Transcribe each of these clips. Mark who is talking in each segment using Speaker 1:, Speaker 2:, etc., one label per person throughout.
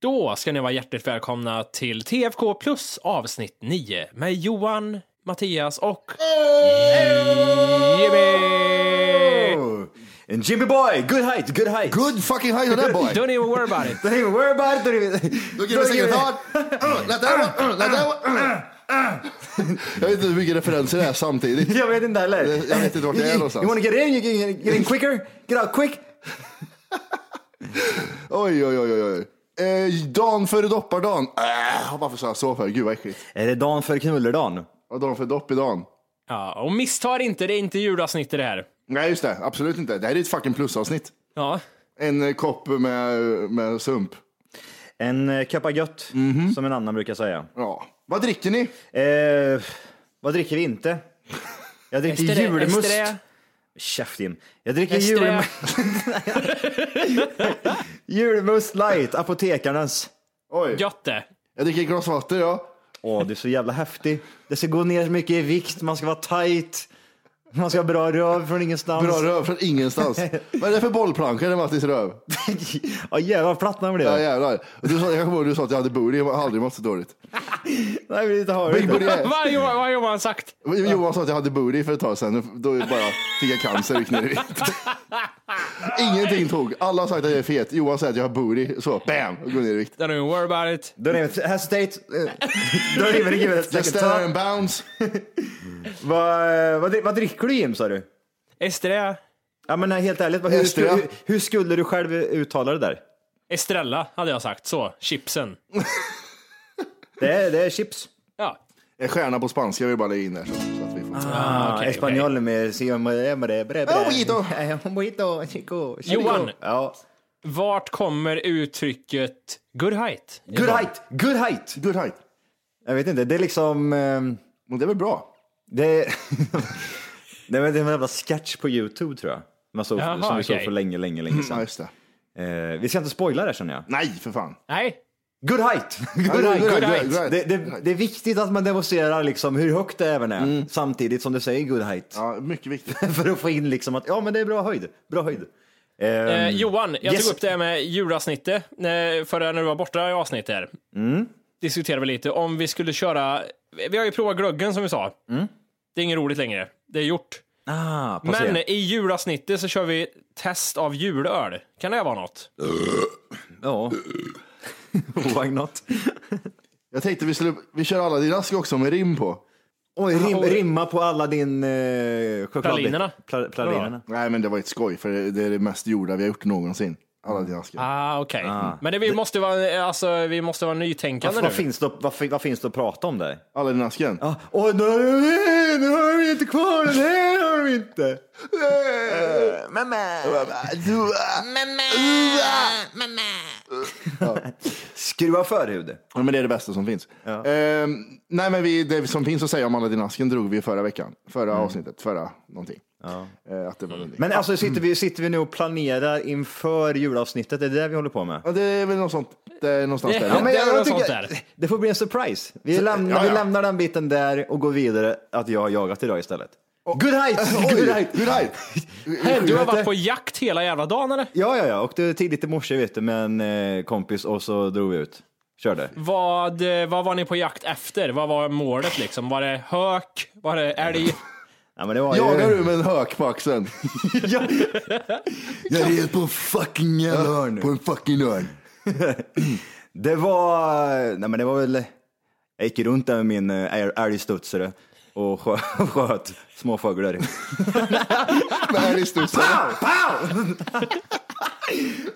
Speaker 1: Då ska ni vara hjärtligt välkomna till TFK plus avsnitt 9 med Johan, Mattias och Jimmy!
Speaker 2: And Jimmy boy, good height, good height.
Speaker 3: Good fucking height on that boy.
Speaker 1: Don't even worry about it.
Speaker 2: Don't even worry about it. Don't even...
Speaker 3: Don't give us a thought. Uh, Let that one, uh, let that one. uh. Jag vet inte hur mycket referenser det är samtidigt.
Speaker 2: Jag vet inte heller.
Speaker 3: Jag vet inte vart det är någonstans.
Speaker 2: You wanna get in, you get, get in quicker, get out quick.
Speaker 3: Oj, oj, oj, oj. oj. Eh, dan före doppardan. Äh, varför sa jag så för? Gud vad äckligt.
Speaker 2: Är det dagen för knullerdagen?
Speaker 3: Och dan före doppidan.
Speaker 1: Ja, och misstar inte, det är inte julavsnitt i det här.
Speaker 3: Nej, just det. Absolut inte. Det här är ett fucking plusavsnitt.
Speaker 1: Ja,
Speaker 3: En eh, kopp med, med sump.
Speaker 2: En eh, kappa gött,
Speaker 3: Mhm.
Speaker 2: som en annan brukar säga.
Speaker 3: Ja. Vad dricker ni?
Speaker 2: Eh, vad dricker vi inte? Jag dricker
Speaker 1: Estré,
Speaker 2: julmust.
Speaker 1: estré.
Speaker 2: Käft in. Jag dricker
Speaker 1: Estré.
Speaker 2: julmust. julmust light, apotekarnas.
Speaker 3: Oj.
Speaker 1: gött det.
Speaker 3: Jag dricker ett glas vatten, ja.
Speaker 2: Åh, du är så jävla häftig. Det ska gå ner så mycket i vikt, man ska vara tight. Man ska ha bra röv från ingenstans.
Speaker 3: Bra röv från ingenstans. vad är det för bollplanka i Mattis röv?
Speaker 2: ja jävlar vad platt man blev.
Speaker 3: Ja, jävlar. Och Du sa, jag kommer ihåg du sa att jag hade booty. Jag har aldrig mått så dåligt.
Speaker 2: Nej, men det har du
Speaker 3: Big
Speaker 2: inte.
Speaker 3: booty är-
Speaker 1: Vad har Johan- vad har Johan sagt?
Speaker 3: Johan sa att jag hade booty för ett tag sedan. Då bara fick jag cancer och gick ner i vikt. Ingenting tog. Alla har sagt att jag är fet. Johan säger att jag har booty. Så bam, och går ner i vikt.
Speaker 1: Don't even worry about it.
Speaker 2: Don't even hesitate. Eh, Don't even give it a
Speaker 3: Just
Speaker 2: second
Speaker 3: stand there and
Speaker 2: thought.
Speaker 3: bounce.
Speaker 2: Vad, vad, dri- vad dricker du Jim sa du?
Speaker 1: Estrella.
Speaker 2: Ja men nej, helt ärligt, vad- hur,
Speaker 3: Estrella.
Speaker 2: sku- hur, hur skulle du själv uttala det där?
Speaker 1: Estrella hade jag sagt, så. Chipsen.
Speaker 2: Det är, det är chips.
Speaker 1: Ja.
Speaker 3: En stjärna på spanska vill jag bara lägga in där. Så, så att vi får.
Speaker 1: Ah, okej,
Speaker 2: Espanjol med si om det med det bre bre.
Speaker 3: Oh, mojito.
Speaker 2: Eh, mojito, chico, chico.
Speaker 1: Johan.
Speaker 2: Ja.
Speaker 1: okej. Vart kommer uttrycket good height?
Speaker 2: Good height, good height.
Speaker 3: Good height.
Speaker 2: Jag vet inte, det är liksom... ehm,
Speaker 3: Men det är väl bra?
Speaker 2: Det är... Nej, men det är en jävla sketch på Youtube tror jag. Man såg,
Speaker 1: Jaha,
Speaker 2: som vi såg
Speaker 1: okej.
Speaker 2: för länge, länge, länge
Speaker 3: Ja,
Speaker 2: sedan.
Speaker 3: just det. Mm.
Speaker 2: Eh, vi ska inte spoila det känner jag.
Speaker 3: Nej, för fan.
Speaker 1: Nej,
Speaker 2: Good height!
Speaker 3: Good
Speaker 2: Good height.
Speaker 3: good
Speaker 1: height.
Speaker 3: good Mm.
Speaker 2: Det, det, det är viktigt att man demonstrerar liksom hur högt det även är, samtidigt som du säger good height.
Speaker 3: Ja, mycket viktigt.
Speaker 2: För att få in liksom att ja men det är bra höjd, bra höjd. Eh,
Speaker 1: Eh, Johan, jag
Speaker 2: Yes.
Speaker 1: tog upp det här med julavsnittet eh, förra när du var borta i avsnittet här.
Speaker 2: Mm.
Speaker 1: Diskuterade vi lite om vi skulle köra, vi har ju provat glöggen som vi sa.
Speaker 2: Mm.
Speaker 1: Det är inget roligt längre, det är gjort.
Speaker 2: ah,
Speaker 1: Men
Speaker 2: Men...
Speaker 1: i julavsnittet så kör vi test av julöl. Kan det vara något?
Speaker 2: Ja. Why not?
Speaker 3: Jag tänkte vi skulle, vi kör alla din ask också med rim på.
Speaker 2: Oj, rim, rimma på alla din eh, choklad...
Speaker 1: Pralinerna.
Speaker 2: Pla, pralinerna.
Speaker 3: Nej, men det var ett skoj för det det är det mest gjorda vi har gjort någonsin. Alla dina askar.
Speaker 1: Ah, okej. Men det, vi, måste vara, alltså, vi måste vara nytänkande
Speaker 2: Alltså, Vad, vad,
Speaker 1: nu.
Speaker 2: finns det, att- vad, fin- vad finns det att prata om där?
Speaker 3: Alla dina asken.
Speaker 2: Ja, Åh, nu har vi- nu har vi inte kvar den, nej det har vi inte. Skruva för hud.
Speaker 3: Ja, men det är det bästa som finns. Ehm, nej, men vi, det som finns att säga om alla dina asken drog vi förra veckan. Förra avsnittet, förra någonting. Eh, att det var någonting.
Speaker 2: Men alltså sitter vi, sitter vi nu och planerar inför julavsnittet? Är det det vi håller på med?
Speaker 3: Ja, det är väl något sånt. Det är någonstans
Speaker 1: Det-
Speaker 3: där.
Speaker 1: Ja, men-
Speaker 2: jag,
Speaker 1: Det är
Speaker 2: jag
Speaker 1: något sånt
Speaker 2: tycker,
Speaker 1: där.
Speaker 2: det får bli en surprise. Vi lämnar,
Speaker 3: ja, ja.
Speaker 2: vi lämnar den biten där och går vidare att jag har jagat idag istället. Good height!
Speaker 3: Oj,
Speaker 2: Good height!
Speaker 3: Good height!
Speaker 1: Du har varit
Speaker 2: Helvete.
Speaker 1: på jakt hela jävla dagen eller?
Speaker 2: Ja, ja, ja. Åkte tidigt i morse vet du, med en eh, kompis och så drog vi ut. Körde.
Speaker 1: Vad, eh, vad var ni på jakt efter? Vad var målet liksom? Var det hök? Var det älg?
Speaker 2: Ja, men det var
Speaker 3: Jagar
Speaker 2: ju...
Speaker 3: du med en hök på axeln?
Speaker 2: Ja.
Speaker 3: Jag är helt på en fucking jävla
Speaker 2: örn.
Speaker 3: På en fucking örn.
Speaker 2: Det var... Nej, men det var väl... Jag gick runt där med min eh, älg- älgstudsare och sköt, sköt småfåglar.
Speaker 3: Med älgstudsare.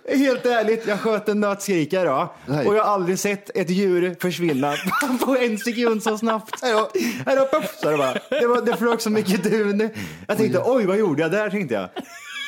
Speaker 2: Helt ärligt, jag sköt en nötskrika idag
Speaker 3: Nej.
Speaker 2: och jag har aldrig sett ett djur försvinna på en sekund så snabbt. Hej då, hej då, puff, så det, bara. Det, var, det flög så mycket dun. Jag tänkte, oj, vad gjorde jag där, tänkte jag.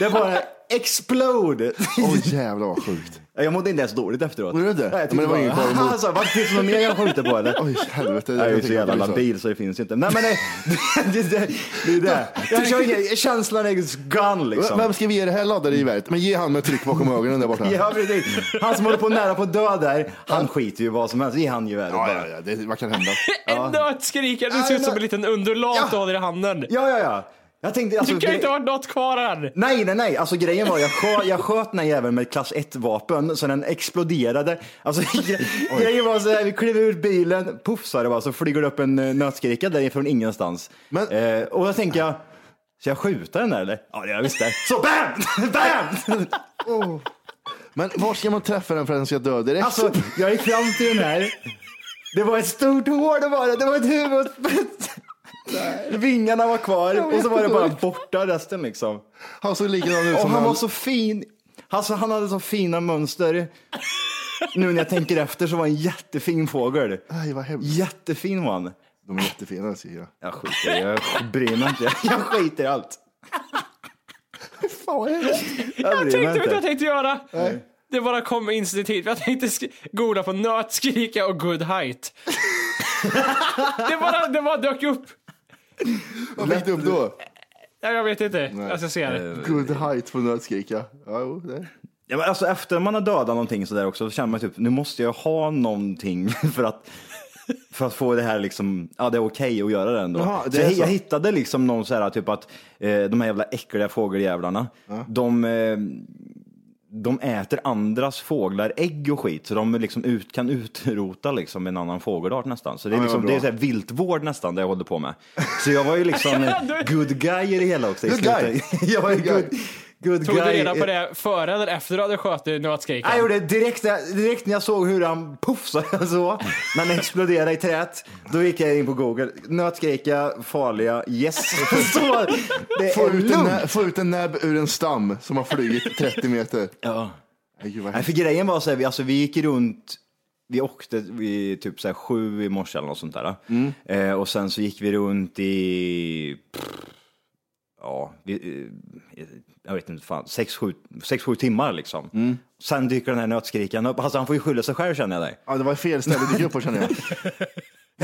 Speaker 2: Det bara explode.
Speaker 3: Åh jävlar vad sjukt.
Speaker 2: Jag mådde inte ens dåligt efteråt.
Speaker 3: Gjorde du inte?
Speaker 2: Nej, jag
Speaker 3: Men det var ingen
Speaker 2: tyckte
Speaker 3: korv
Speaker 2: bara,
Speaker 3: emot.
Speaker 2: alltså, vad finns det något mer jag skjuter på eller?
Speaker 3: Oj helvete.
Speaker 2: Jag är ju
Speaker 3: tycker
Speaker 2: så jävla
Speaker 3: att det blir
Speaker 2: labil så det finns ju inte. Nej men det, det, det, det är det. Jag kör ingen, känslan är gone liksom.
Speaker 3: Vem ska vi ge det här laddade geväret? Men ge han med tryck bakom ögonen där borta.
Speaker 2: Ja, precis. Han som håller på nära på att dö där, han skiter ju i vad som helst. Ge han geväret
Speaker 3: Ja,
Speaker 2: bara.
Speaker 3: ja, ja. Det, vad kan hända?
Speaker 1: En nötskrika, du ser
Speaker 2: Ja,
Speaker 1: ut som
Speaker 2: men-
Speaker 1: en liten undulat
Speaker 2: Ja.
Speaker 1: du håller i handen.
Speaker 2: Ja, ja, ja. Jag tänkte alltså...
Speaker 1: Du kan ju
Speaker 2: gre-
Speaker 1: inte ha något kvar här.
Speaker 2: Nej, nej, nej. Alltså grejen var, jag sköt, jag sköt den här jäveln med ett klass 1-vapen så den exploderade. Alltså gre- grejen var så här, vi klev ur bilen, puff sa det bara, så flyger det upp en eh, nötskrika därifrån ingenstans.
Speaker 3: Men-
Speaker 2: Eh, och då tänker jag, ska jag skjuta den där eller? Ja, det gör jag visst det. Så bam! bam!
Speaker 3: Men var ska man träffa den för att den ska dö direkt?
Speaker 2: Alltså, jag gick fram till den här. Det var ett stort hår det var det. Det var ett huvud. Vingarna var kvar och så var det bara borta resten liksom.
Speaker 3: han såg likadan ut
Speaker 2: Och
Speaker 3: som
Speaker 2: han var så fin. Alltså han hade så fina mönster. Nu när jag tänker efter så var han en jättefin fågel.
Speaker 3: Aj, vad hemskt.
Speaker 2: Jättefin var han.
Speaker 3: De är jättefina ser jag.
Speaker 2: Jag skiter i det. Jag bryr mig inte. Jag skiter i allt.
Speaker 3: Fan vad hemskt.
Speaker 1: Jag
Speaker 2: bryr
Speaker 1: tänkte
Speaker 2: mig
Speaker 1: vet du vad jag
Speaker 2: inte.
Speaker 1: tänkte göra. Det bara kom instinktivt. Jag tänkte sk- googla på nötskrika och good height. det, bara, det bara dök upp.
Speaker 3: Vad fick du upp då?
Speaker 1: Ja, Jag vet inte. Alltså, jag ser det.
Speaker 3: Good height på nötskrika. Ja, jo, det.
Speaker 2: Ja, men alltså, efter man har dödat någonting sådär också så känner man typ nu måste jag ha någonting för att, för att få det här liksom, ja det är okej att göra det ändå.
Speaker 3: Jaha, det
Speaker 2: så jag,
Speaker 3: är så.
Speaker 2: jag hittade liksom någon så här typ att eh, de här jävla äckliga fågeljävlarna, de, eh, de äter andras fåglar ägg och skit så de liksom ut, kan utrota liksom en annan fågelart nästan. Så det är,
Speaker 3: Ja, men
Speaker 2: liksom,
Speaker 3: vad bra.
Speaker 2: det är så här viltvård nästan det jag håller på med. Så jag var ju liksom eh, good guy i det hela också. i
Speaker 3: Good guy.
Speaker 2: slutet. jag var ju
Speaker 3: Good guy.
Speaker 2: good, good
Speaker 1: Tog du
Speaker 2: guy.
Speaker 1: reda på det före eller efter du hade skjutit nötskrikan?
Speaker 2: Jag gjorde det direkt, när jag- direkt när jag såg hur han puffsade så, när han exploderade i trät, då gick jag in på Google. Nötskrika, farliga, yes. Så, det är
Speaker 3: Få, ut en
Speaker 2: lugnt.
Speaker 3: näbb, få ut en näbb ur en stam som har flugit 30 meter.
Speaker 2: Ja.
Speaker 3: Ay, gud, vad
Speaker 2: Nej,
Speaker 3: hemskt.
Speaker 2: för grejen var så här, vi, alltså, vi gick runt, vi åkte vid typ så här sju i morse eller något sånt där.
Speaker 3: Mm.
Speaker 2: Eh, och sen så gick vi runt i, ja, vi, eh, jag vet inte fan, sex, sju, sex, sju timmar liksom.
Speaker 3: Mm.
Speaker 2: Sen dyker den här nötskrikan upp. Alltså han får ju skylla sig själv känner jag dig.
Speaker 3: Ja, det var fel ställe du gick upp på känner jag.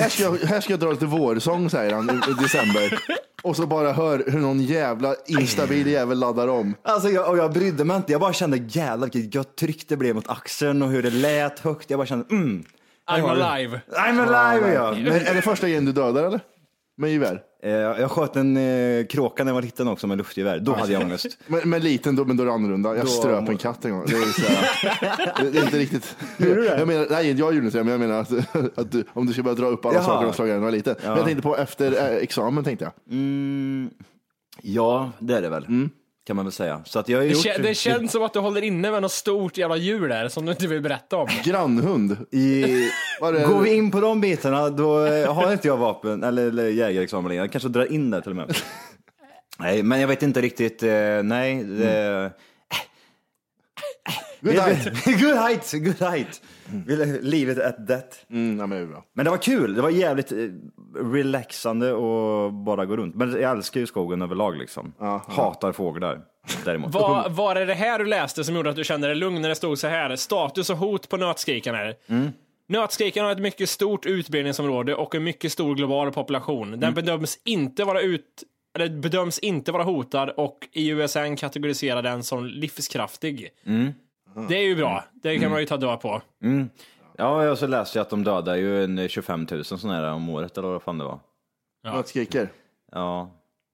Speaker 3: Här ska jag, här ska jag dra lite vårsång säger han i, i december. Och så bara hör hur någon jävla instabil jävel laddar om.
Speaker 2: Alltså jag, och jag brydde mig inte, jag bara kände jävlar vilket gött tryck det blev mot axeln och hur det lät högt. Jag bara kände mm,
Speaker 1: I'm alive.
Speaker 2: I'm alive ja.
Speaker 3: Men är det första grejen du dödar eller? Med gevär?
Speaker 2: Eh, Jag sköt en eh, kråka när jag var liten också med luftgevär, då hade jag ångest.
Speaker 3: Men, men liten, då, men då är det annorlunda. Jag
Speaker 2: Då-
Speaker 3: ströp en katt en gång. Det är, så här, det är inte riktigt... Gjorde du det? Jag menar, nej, jag gjorde inte det, men jag menar att, att du, om du ska börja dra upp alla
Speaker 2: Jaha.
Speaker 3: saker och slå igen när du var liten. Men jag tänkte på efter eh, examen, tänkte jag.
Speaker 2: Ja, det är det väl. Mm. Kan man väl säga. Så att jag har
Speaker 1: Det,
Speaker 2: gjort...
Speaker 1: kä- det känns som att du håller inne med något stort jävla djur där som du inte vill berätta om.
Speaker 3: Grannhund.
Speaker 2: I...
Speaker 3: Var det-
Speaker 2: Går vi in på de bitarna då eh, har inte jag vapen eller, eller jägarexamen längre. Jag kanske drar in det till och med. Nej, men jag vet inte riktigt. eh, Nej. Det...
Speaker 3: Mm. Good night.
Speaker 2: good height, good height. Mm. Livet at that.
Speaker 3: Mm, nej, men det är bra.
Speaker 2: Men det var kul. Det var jävligt eh, relaxande och bara gå runt. Men jag älskar ju skogen överlag liksom. Hatar fåglar däremot.
Speaker 1: Var, var det det här du läste som gjorde att du kände dig lugn när det stod så här? Status och hot på nötskrikan här.
Speaker 2: Mm.
Speaker 1: Nötskrikan har ett mycket stort utbildningsområde och en mycket stor global population.
Speaker 2: Mm.
Speaker 1: Den bedöms inte vara ut eller bedöms inte vara hotad och IUSN kategoriserar den som livskraftig.
Speaker 2: Mm.
Speaker 1: Det är ju bra. Det kan man ju ta död på.
Speaker 2: Ja, och så läste jag att de dödar ju en 25 000 sådana här om året eller vad fan det var.
Speaker 3: Ja. Skriker.
Speaker 2: Ja,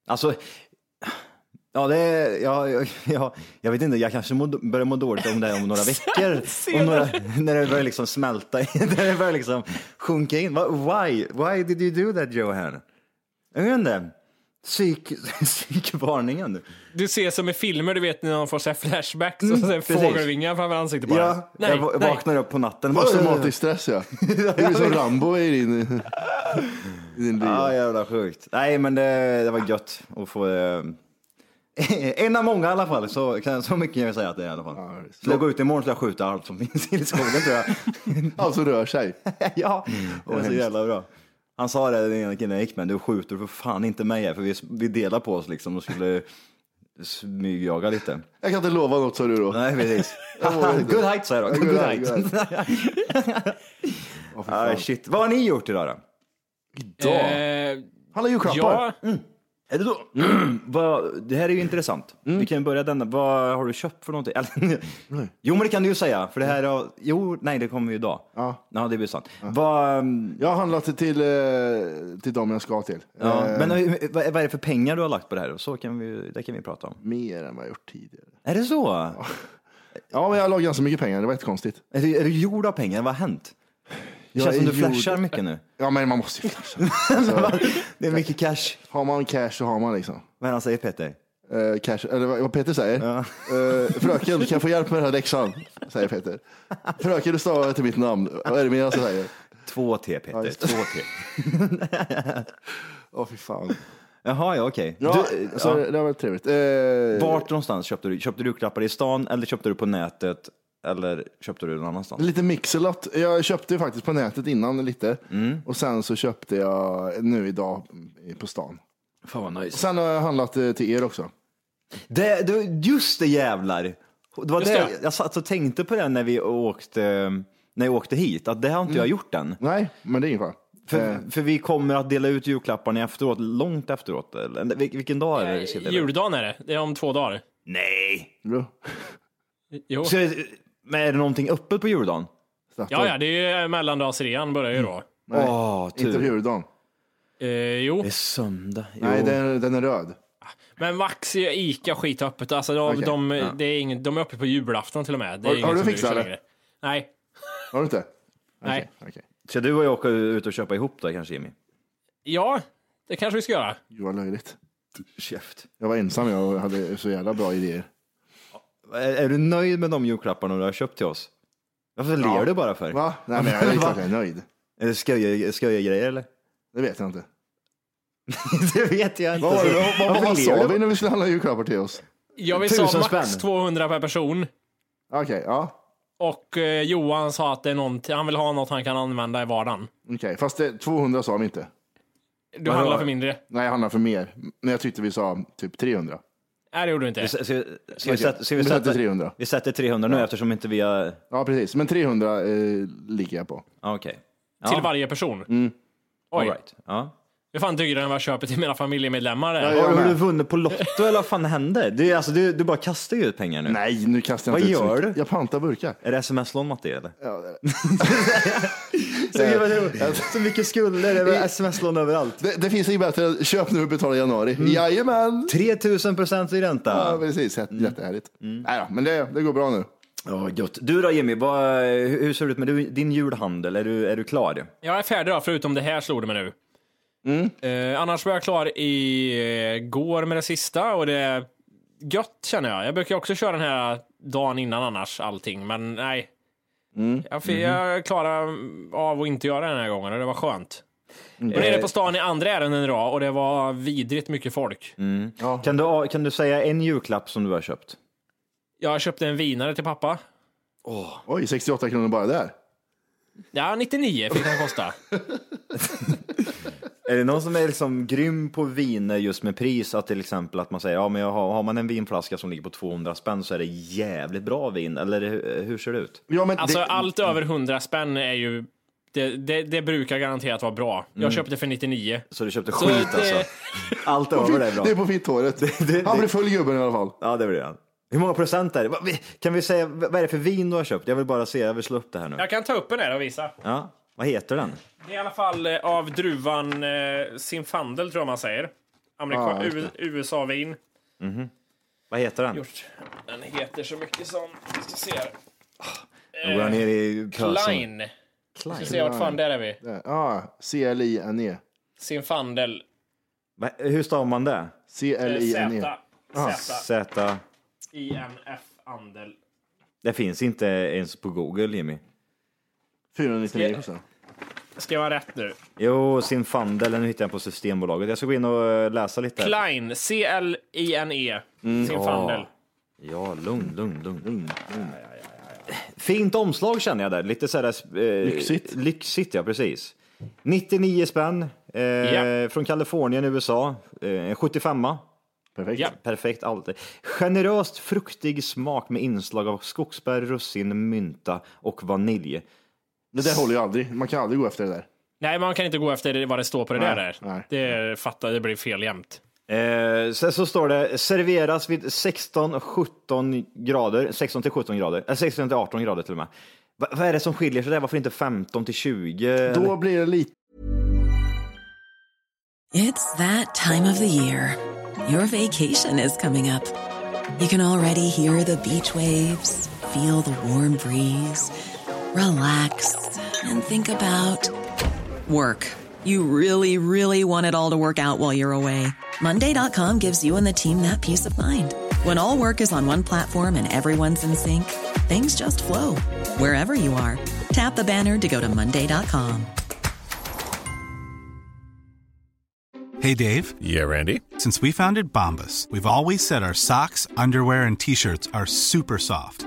Speaker 2: alltså. Ja, det är, ja, ja, ja, jag vet inte, jag kanske må, börjar må dåligt om det här om några veckor. Om några, när det börjar liksom smälta, in, när det börjar liksom sjunka in. Va- Why? Why did you do that Johan? Jag vet inte. Psyk, psykvarningen. nu.
Speaker 1: Du ser som i filmer, du vet när någon får så här flashbacks och så här
Speaker 2: Mm. precis.
Speaker 1: fågelvingar framför ansiktet på en.
Speaker 2: Ja, jag
Speaker 1: Nej,
Speaker 2: va-
Speaker 1: nej.
Speaker 2: vaknar upp på natten. Bara,
Speaker 3: Posttraumatisk stress ja. Du är som Rambo i din, i din liv.
Speaker 2: Ja, jävla sjukt. Nej, men det, det var gött att få... Eh, en av många i alla fall, så, kan- så mycket kan jag säga att det är i alla fall. Skulle jag gå ut imorgon skulle jag skjuta allt som finns i skogen tror jag.
Speaker 3: Allt som rör sig.
Speaker 2: ja, det var så jävla bra. Han sa det, den ena killen jag gick med, du skjuter för fan inte mig här, för vi, vi delar på oss liksom och skulle smygjaga lite.
Speaker 3: Jag kan inte lova något sa du då.
Speaker 2: Nej, precis.
Speaker 3: vågar inte.
Speaker 2: good height sa jag då. Good,
Speaker 3: Good height,
Speaker 2: height. ah, shit. Vad har ni gjort idag då?
Speaker 1: Eh,
Speaker 3: Alla julklappar.
Speaker 1: ja,
Speaker 2: Mm. Är det då? Vad, det här är ju intressant.
Speaker 3: Mm.
Speaker 2: Vi kan börja denna. Vad har du köpt för någonting? Eller, jo, men det kan du ju säga. För det här har, Jo, nej, det kommer ju idag.
Speaker 3: Ja.
Speaker 2: Ja, det blir sant. Vad, ehm,
Speaker 3: Jag har handlat till, eh, till dem jag ska till.
Speaker 2: ja,
Speaker 3: Eh,
Speaker 2: men hur- vad, vad är det för pengar du har lagt på det här? Så kan vi, det kan vi prata om.
Speaker 3: Mer än vad jag gjort tidigare.
Speaker 2: Är det så?
Speaker 3: Ja, men jag la ganska mycket pengar. Det var jättekonstigt.
Speaker 2: Är, du, är du gjord av pengar? Vad har hänt? Det
Speaker 3: Jag
Speaker 2: känns som
Speaker 3: är
Speaker 2: du flashar
Speaker 3: gjord-
Speaker 2: mycket nu.
Speaker 3: Ja, men man måste ju flasha. alltså,
Speaker 2: Det är mycket cash.
Speaker 3: har man cash så har man liksom.
Speaker 2: Vad är det han säger Peter?
Speaker 3: Eh, cash, eller vad vad Peter säger. Eh, fröken, kan jag få hjälp med den här läxan? Säger Peter. Fröken, du stavar till mitt namn. Vad är det mer jag säger?
Speaker 2: Två T Peter.
Speaker 3: just
Speaker 2: Två T.
Speaker 3: Åh, fy fan.
Speaker 2: Jaha, ja okej.
Speaker 3: Ja, alltså,
Speaker 2: Du-
Speaker 3: så
Speaker 2: ja.
Speaker 3: Det, det har varit trevligt. Eh,
Speaker 2: Vart någonstans köpte du? Köpte du julklappar i stan eller köpte du på nätet? Eller köpte du någon annanstans?
Speaker 3: Lite mixelot. Jag köpte ju faktiskt på nätet innan lite. Och sen så köpte jag nu idag på stan.
Speaker 2: Fan vad nice.
Speaker 3: Sen har jag handlat eh, till er också.
Speaker 2: Det, det, just det jävlar! Det var
Speaker 1: Just
Speaker 2: det.
Speaker 1: det.
Speaker 2: Jag satt och tänkte på det när vi åkte, när jag åkte hit, att det har inte jag gjort än.
Speaker 3: Nej, men det är ingen fara.
Speaker 2: För, för vi kommer att dela ut julklapparna efteråt, långt efteråt. Eller, vil, vilken dag är det vi ska dela ut?
Speaker 1: eh, juldagen är det. Det är om två dagar.
Speaker 2: Nej!
Speaker 3: Bra.
Speaker 1: Jo.
Speaker 2: Ska, men är det någonting öppet på juldagen?
Speaker 3: Snabbt.
Speaker 1: Ja, ja, det är ju mellandagsrean börjar ju
Speaker 3: Mm.
Speaker 1: då.
Speaker 3: Nej,
Speaker 2: Åh,
Speaker 3: inte
Speaker 2: tur.
Speaker 3: juldagen.
Speaker 1: Eh, jo,
Speaker 2: Det är söndag. Jo.
Speaker 3: Nej, den, den är röd.
Speaker 1: men Maxi och Ica skitöppet. Alltså, de,
Speaker 3: Okej,
Speaker 1: de, det är inget, de är uppe på julafton till och med. Det är
Speaker 3: Har-
Speaker 1: inget
Speaker 3: har du
Speaker 1: som
Speaker 3: fixat
Speaker 1: kör
Speaker 3: det?
Speaker 1: längre. Nej,
Speaker 3: Har du inte?
Speaker 1: nej.
Speaker 3: Okej. Okay.
Speaker 2: Ska du och jag åka ut och köpa ihop då kanske Jimmy?
Speaker 1: Ja, det kanske vi ska göra.
Speaker 3: Gud vad löjligt.
Speaker 2: Käft.
Speaker 3: Jag var ensam jag och hade så jävla bra idéer.
Speaker 2: Är, är du nöjd med de julklapparna du har köpt till oss? Varför ler du bara för?
Speaker 3: Va? Nej, men jag är klart jag är nöjd.
Speaker 2: Är det sköja, sköja grejer eller?
Speaker 3: Det vet jag inte.
Speaker 2: det vet jag inte.
Speaker 3: Vad, var det, vad, vad, vad,
Speaker 2: Varför ler
Speaker 3: sa
Speaker 2: du?
Speaker 3: vi när vi skulle handla julklappar till oss?
Speaker 1: Jag vill sa
Speaker 2: Tusen
Speaker 1: max
Speaker 2: spänn.
Speaker 1: 200 per person.
Speaker 3: Okej, ja.
Speaker 1: Och eh, Johan sa att det är någonting, han vill ha något han kan använda i vardagen.
Speaker 3: Okej, fast det, 200 sa vi inte.
Speaker 1: Du handlar för mindre.
Speaker 3: Nej, jag handlar för mer. Men jag tyckte vi sa typ 300.
Speaker 1: Nej, det gjorde du inte.
Speaker 2: Ska- ska- Ska vi sätta- ska
Speaker 3: vi
Speaker 2: vi
Speaker 3: sätter
Speaker 2: sätta
Speaker 3: 300.
Speaker 2: Vi sätter 300 nu eftersom inte vi har...
Speaker 3: Ja, precis. Men 300 eh, ligger jag på.
Speaker 2: Ah, Okej.
Speaker 1: Till varje person.
Speaker 3: Mm.
Speaker 1: Oj,
Speaker 2: All right. Ja.
Speaker 1: det är fan dyrare än vad jag köper till mina familjemedlemmar. är.
Speaker 3: jag
Speaker 2: Har, har
Speaker 3: med.
Speaker 2: du vunnit på Lotto eller vad fan hände? Du, alltså, du, du bara kastar ju ut pengar nu.
Speaker 3: Nej, nu kastar jag
Speaker 2: Vad
Speaker 3: inte ut så
Speaker 2: gör
Speaker 3: mycket.
Speaker 2: du?
Speaker 3: Jag pantar burkar.
Speaker 2: Är det sms-lån Matti eller?
Speaker 3: Ja, det-
Speaker 2: Så, så mycket skulder, det är väl sms-lån överallt.
Speaker 3: det, det finns inget bättre. Köp nu och betala i januari. Jajamän!
Speaker 2: 3000 procent i ränta.
Speaker 3: Mm. Ja, Mm. precis. Jätte- Jättehärligt. Nej då, men det, det går bra nu.
Speaker 2: Ja, gött. Du då Jimmy, vad, hur hur ser det ut med du- din julhandel? Är du, är du klar?
Speaker 1: Jag är färdig då, förutom det här slog det mig nu. Eh, annars var jag klar i eh, går med det sista och det är gött känner jag. Jag brukar också köra den här dagen innan annars allting, men nej. Jag, fi- jag klarade av att inte göra det den här gången och det var skönt. Jag var nere på stan i andra ärenden idag och det var vidrigt mycket folk.
Speaker 2: Kan du, kan du säga en julklapp som du har köpt?
Speaker 1: Jag köpte en vinare till pappa.
Speaker 3: Oj, 68 kronor bara där.
Speaker 1: Ja, 99 fick den kosta.
Speaker 2: Är det någon som är liksom grym på viner just med pris? Att till exempel att man säger, ja men jag har, har man en vinflaska som ligger på 200 spänn så är det jävligt bra vin. Eller hur, hur ser det ut?
Speaker 3: Ja, men
Speaker 1: Alltså
Speaker 3: det,
Speaker 1: allt över 100 spänn är ju... Det, det, det brukar garanterat vara bra. Jag köpte för 99.
Speaker 2: Så du köpte
Speaker 1: Så
Speaker 2: skit
Speaker 1: det-
Speaker 2: alltså? Allt över det är bra.
Speaker 3: det är på fitthåret. Han blir full gubben i alla fall.
Speaker 2: Ja det blir det. Hur många procent är det? Vad- vi- Kan vi säga, vad är det för vin du har köpt? Jag vill bara se, jag vill slå upp det här nu.
Speaker 1: Jag kan ta upp en här och visa.
Speaker 2: Ja, vad heter den?
Speaker 1: Det är i alla fall eh, av druvan eh, Zinfandel, tror jag man säger. Amerika-
Speaker 3: Ja, just
Speaker 1: U- USA-vin.
Speaker 2: Vad heter den?
Speaker 1: Gjort. Den heter så mycket som... Vi ska se här.
Speaker 2: Nu går jag ner i pösen.
Speaker 1: Klein. Vi ska se vart fan där är vi.
Speaker 3: E. Ja, C-L-I-N-E.
Speaker 1: Zinfandel. eh,
Speaker 2: Va- Hur stavar man det?
Speaker 3: C-L-I-N-E. Ah,
Speaker 1: Z.
Speaker 2: Z...
Speaker 1: INF Andel.
Speaker 2: Det finns inte ens på Google, Jimmy.
Speaker 3: 499 kostar
Speaker 1: Ska jag vara rätt nu?
Speaker 2: Jo, sin fandel, den hittade jag på Systembolaget. Jag ska gå in och eh, läsa lite. här.
Speaker 1: Klein, C-L-I-N-E.
Speaker 3: Mm.
Speaker 1: Sin fandel.
Speaker 2: Ja, lugn, lugn, lugn. lugn. lugn. Fint omslag känner jag där. Lite sådär... Eh,
Speaker 3: Lyxigt.
Speaker 2: Lyxigt, ja precis. 99 spänn. Eh,
Speaker 1: Ja.
Speaker 2: Från Kalifornien, USA. Eh, en 75
Speaker 3: Perfekt.
Speaker 1: Ja.
Speaker 2: Perfekt alltid. Generöst fruktig smak med inslag av skogsbär, russin, mynta och vanilj.
Speaker 3: Det där håller ju aldrig. Man kan aldrig gå efter det där.
Speaker 1: Nej, man kan inte gå efter det- vad det står på det
Speaker 3: Nej,
Speaker 1: där.
Speaker 3: nej.
Speaker 1: Det, är, fattar, det blir fel jämt.
Speaker 2: Eh, sen så står det serveras vid 16-17 grader, 16 till 17 grader, eh, 16 till 18 grader till och med. Va, vad är det som skiljer sig där? Varför inte 15 till 20?
Speaker 3: Då blir det lite
Speaker 4: It's that time of the year. Your vacation is coming up. You can already hear the beach waves, feel the warm breeze, relax, and think about work. You really, really want it all to work out while you're away. Monday.com gives you and the team that peace of mind. When all work is on one platform and everyone's in sync, things just flow wherever you are. Tap the banner to go to Monday.com.
Speaker 5: Hey, Dave.
Speaker 6: Yeah, Randy.
Speaker 5: Since we founded Bombus, we've always said our socks, underwear, and t shirts are super soft.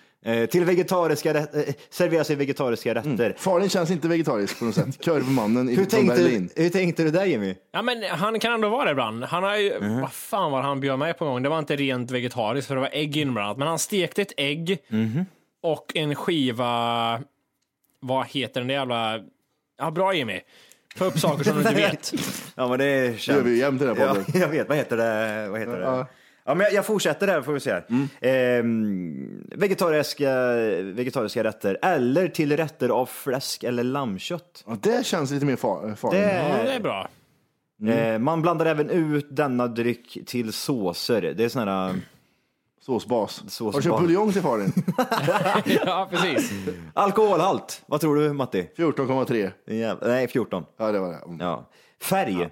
Speaker 2: Eh, till vegetariska rätter, eh, serveras i vegetariska rätter.
Speaker 3: Faren känns inte vegetarisk på något sätt. Kurvmannen i
Speaker 2: Hur,
Speaker 3: Mm. från
Speaker 2: tänkte,
Speaker 3: Berlin.
Speaker 2: du- hur tänkte du där Jimmy?
Speaker 1: Ja, men han kan ändå vara det ibland. Han har ju, vad fan var det han bjöd mig på en gång? Det var inte rent vegetariskt för det var ägg inblandat. Men han stekte ett ägg och en skiva, vad heter den där jävla, ja bra Jimmy. Ta upp saker som du inte vet.
Speaker 2: Ja men det är
Speaker 3: Det
Speaker 2: känt.
Speaker 3: gör vi ju jämt i den här
Speaker 2: Ja,
Speaker 3: podden.
Speaker 2: jag vet, vad heter det? Vad heter det? Ja. men jag, jag fortsätter där får vi se.
Speaker 3: Mm.
Speaker 2: Ehm, vegetariska, vegetariska rätter eller till rätter av fläsk eller lammkött.
Speaker 3: Ja, det känns lite mer eh, far, faren.
Speaker 2: Det-
Speaker 1: Ja, det är bra.
Speaker 3: Mm.
Speaker 2: Eh, man blandar även ut denna dryck till såser. Det är såna här, eh,
Speaker 3: Såsbas.
Speaker 2: Såsbas.
Speaker 3: Har du köpt buljong till faren?
Speaker 1: Ja, precis.
Speaker 2: alkoholhalt. Vad tror du Matti?
Speaker 3: 14,3.
Speaker 2: Jävla, nej, 14.
Speaker 3: Ja, det var det. Mm.
Speaker 2: Ja. Färg,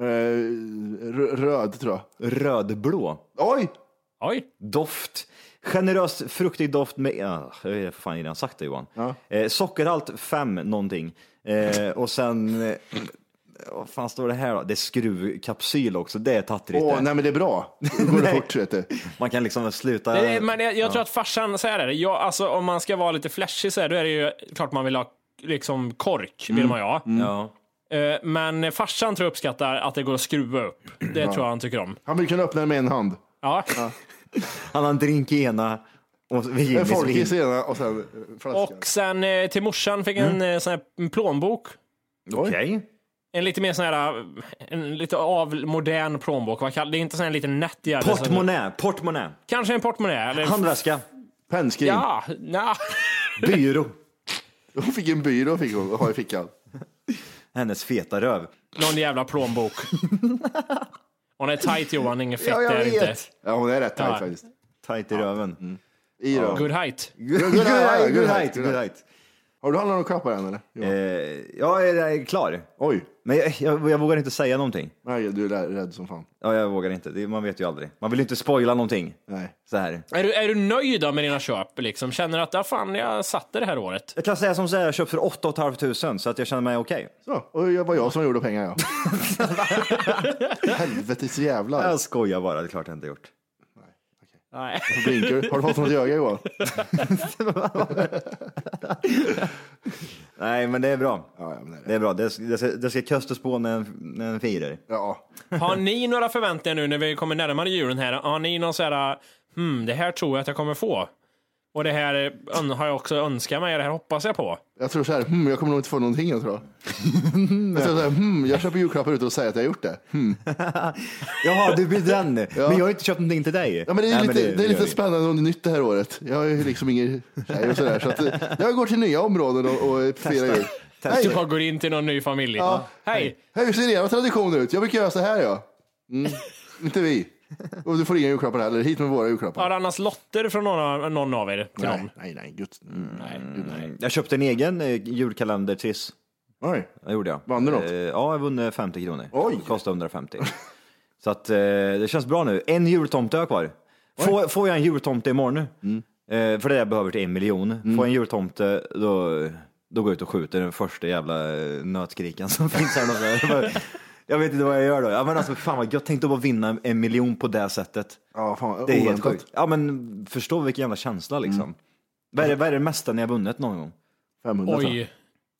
Speaker 3: Eh, r- röd tror jag.
Speaker 2: rödblå.
Speaker 3: Oj!
Speaker 1: Oj.
Speaker 2: Doft. Generös fruktig doft med, ja, jag vet för fan redan sagt det Johan. Eh, sockerhalt 5 någonting. Eh, och sen, eh, vad fan står det här då? Det är skruvkapsyl också, det är tattrigt
Speaker 3: Åh,
Speaker 2: det.
Speaker 3: nej men det är bra. Nu går det
Speaker 2: Nej.
Speaker 3: fort vet du.
Speaker 2: Man kan liksom sluta.
Speaker 1: Det är, Eh, men jag, jag tror att farsan, så här är det. Jag, alltså, om man ska vara lite flashig så här, då är det ju klart man vill ha liksom kork, vill man ju ha.
Speaker 2: ja.
Speaker 1: Eh, Men farsan tror jag uppskattar att det går att skruva upp. Det tror jag han tycker om.
Speaker 3: Han vill kunna öppna den med en hand.
Speaker 1: Ja.
Speaker 2: Han har en drink i ena och
Speaker 3: En
Speaker 2: Jimmys
Speaker 3: folkis
Speaker 2: vin.
Speaker 3: i ena och sen eh, flaskan.
Speaker 1: Och sen eh, till morsan fick
Speaker 2: Mm.
Speaker 1: en eh, sån här en plånbok.
Speaker 2: Okej.
Speaker 1: En lite mer sån här, eh, en lite av modern plånbok. Vad kall- Det är inte sån här liten nätt jävel som-
Speaker 2: Portmonnaie, portmonnaie.
Speaker 1: Kanske en portmonnaie. Eller...
Speaker 2: Handväska,
Speaker 3: Pennskrin.
Speaker 1: Ja, na.
Speaker 2: byrå.
Speaker 3: Hon fick en byrå fick hon, ha i fickan.
Speaker 2: Hennes feta röv.
Speaker 1: någon jävla plånbok. Hon är tight Johan, inget fett
Speaker 2: Ja, jag
Speaker 1: där
Speaker 2: vet.
Speaker 1: inte.
Speaker 3: Ja, hon är rätt tajt
Speaker 1: Ja.
Speaker 3: faktiskt.
Speaker 2: Tight i röven. Mm.
Speaker 3: I röven.
Speaker 1: Good height.
Speaker 2: Good, good, height, good height,
Speaker 3: good Har du handlat om klappar än eller? Ja.
Speaker 2: Eh, jag är jag är klar.
Speaker 3: Oj,
Speaker 2: Men jag, jag, jag vågar inte säga någonting.
Speaker 3: nej, du är där- rädd som fan.
Speaker 2: Ja, jag vågar inte. Det, man vet ju aldrig. Man vill ju inte spoila någonting.
Speaker 3: Nej.
Speaker 2: Så här.
Speaker 1: Är du, är du nöjd då med dina köp? Liksom? Känner du att ah, fan, jag satte det här året?
Speaker 2: Jag kan säga som så här, jag köpte för 8 500 så att jag känner mig okej.
Speaker 3: Så, och det var jag som gjorde pengar ja. Helvetes jävlar.
Speaker 2: Jag skojar bara, det är klart jag inte gjort.
Speaker 1: Nej.
Speaker 3: Blinkar. du? Har du fått något i ögat Johan?
Speaker 2: Nej, men det är bra.
Speaker 3: Ja, ja, men det är det.
Speaker 2: Det är bra. Det, det ska, det ska köstas på när en, när en firar.
Speaker 3: Ja.
Speaker 1: Har ni några förväntningar nu när vi kommer närmare julen här? Har ni någon så här, hmm, det här tror jag att jag kommer få? Och det här är- ön- har jag också önskat mig, det här hoppas jag på.
Speaker 3: Jag tror så här, hmm, jag kommer nog inte få någonting jag tror. jag tror så här, hmm, jag köper julklappar utan att säga att jag har gjort det. Hmm.
Speaker 2: Jaha, du blir den. Men jag har inte köpt någonting till dig.
Speaker 3: Ja, men det är
Speaker 2: Nej,
Speaker 3: lite, det, är
Speaker 2: gör
Speaker 3: lite
Speaker 2: vi.
Speaker 3: spännande och nytt det här året. Jag har ju liksom ingen tjej och sådär. Så att, eh, jag går till nya områden och, och firar jul.
Speaker 1: Du
Speaker 3: Hej,
Speaker 1: bara går in till någon ny familj.
Speaker 3: Ja.
Speaker 1: Hej!
Speaker 3: hej, hur ser era traditioner ut? Jag brukar göra så här ja. Mm. Inte vi. Och du får inga julklappar heller. Hit med våra julklappar.
Speaker 1: Har det annars lotter från någon av, någon av er till Mm.
Speaker 3: nej,
Speaker 1: någon?
Speaker 3: nej, nej, gud. nej, gud, nej.
Speaker 2: Mm. Jag köpte en egen eh, julkalender, Triss.
Speaker 3: Oj.
Speaker 2: Det gjorde jag.
Speaker 3: Vann du något?
Speaker 2: Eh, Ja, jag vann 50 kronor.
Speaker 3: Oj.
Speaker 2: Det kostade 150. Så att eh, det känns bra nu. En jultomte har jag kvar. Får, får jag en jultomte imorgon?
Speaker 3: Mm.
Speaker 2: Eh, för det där behöver till en miljon. Får jag en jultomte, då, då går jag ut och skjuter den första jävla eh, nötskrikan som finns här någonstans. Jag vet inte vad jag gör då. Ja, men alltså, fan vad gött, tänkte bara vinna en miljon på det sättet.
Speaker 3: Ja, fan,
Speaker 2: Det är helt
Speaker 3: oväntat.
Speaker 2: sjukt. Ja, men förstå vilken jävla känsla liksom.
Speaker 3: Mm.
Speaker 2: Vad, är det, vad är det mesta ni har vunnit någon gång?
Speaker 3: 500 tror jag.
Speaker 1: Oj.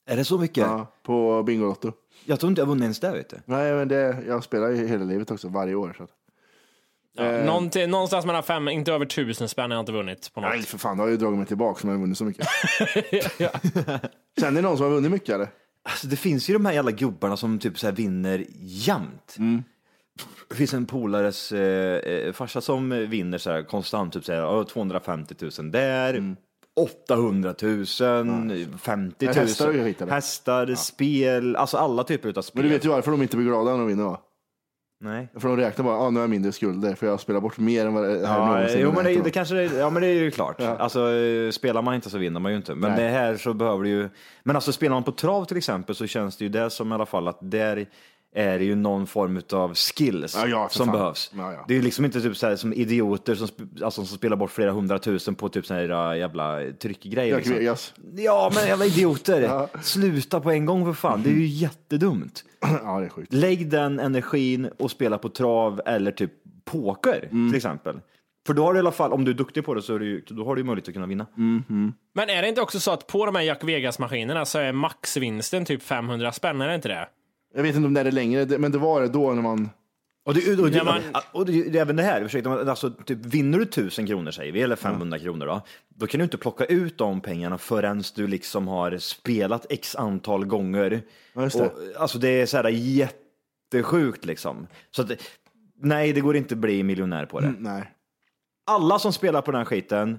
Speaker 2: Är det så mycket?
Speaker 3: Ja, på Bingolotto.
Speaker 2: Jag tror inte jag har vunnit ens det, vet du.
Speaker 3: Nej, men det, jag spelar ju hela livet också, varje år. Så att, Eh.
Speaker 1: Ja, någonting- någonstans mellan fem, inte över tusen spänn har jag inte vunnit på något.
Speaker 3: nej, för fan, då har jag ju dragit mig tillbaka som jag har vunnit så mycket. Känner ni någon som har vunnit mycket eller?
Speaker 2: Alltså, det finns ju de här jävla gubbarna som typ så här vinner jämt.
Speaker 3: Mm.
Speaker 2: Det finns en polares eh, eh, farsa som vinner så här konstant, typ så här, ja, 250 000 där,
Speaker 3: Mm.
Speaker 2: 800 000, 50 000.
Speaker 3: Men hästar har ju skit, eller?
Speaker 2: Hästar, spel, alltså alla typer av spel.
Speaker 3: Men du vet ju varför de inte blir glada när de vinner va?
Speaker 2: Nej.
Speaker 3: För de räknar bara, ah, nu har jag mindre skulder för jag spelar bort mer än vad det här
Speaker 2: Ja,
Speaker 3: någonsin
Speaker 2: jo,
Speaker 3: har
Speaker 2: men det,
Speaker 3: hänt
Speaker 2: det
Speaker 3: dem."
Speaker 2: kanske det, ja, men det är ju klart. Alltså, eh, spelar man inte så vinner man ju inte. Men
Speaker 3: Nej.
Speaker 2: det här så behöver du ju... Men alltså spelar man på trav till exempel så känns det ju där som i alla fall att där är det ju någon form av skills
Speaker 3: Ja, ja, för
Speaker 2: som
Speaker 3: fan.
Speaker 2: behövs.
Speaker 3: Ja, ja.
Speaker 2: Det är ju liksom inte typ så här som idioter som, sp- alltså, som spelar bort flera hundratusen på typ så här jävla tryckgrejer.
Speaker 3: Jack
Speaker 2: Liksom.
Speaker 3: Vegas.
Speaker 2: Ja, men jävla idioter! Sluta på en gång för fan, det är ju jättedumt.
Speaker 3: Ja, det är sjukt.
Speaker 2: Lägg den energin och spela på trav eller typ poker till exempel. För då har du i alla fall, om du är duktig på det så är du, ju- då har du ju möjlighet att kunna vinna.
Speaker 1: Men är det inte också så att på de här Jack Vegas-maskinerna så är maxvinsten typ 500 spänn, är det inte det?
Speaker 3: Jag vet inte om det är det längre, det- men det var det då när man...
Speaker 2: Och, det, och, det,
Speaker 1: Ja, men-
Speaker 2: och det, det, är även det här, ursäkta, men alltså, typ, vinner du 1000 kronor säger vi, eller 500 kronor då, då kan du inte plocka ut de pengarna förrän du liksom har spelat x antal gånger.
Speaker 3: Ja, just det.
Speaker 2: Och, alltså det är så här jättesjukt liksom. Så att, det- nej, det går inte att bli miljonär på det.
Speaker 3: Nej.
Speaker 2: alla som spelar på den här skiten,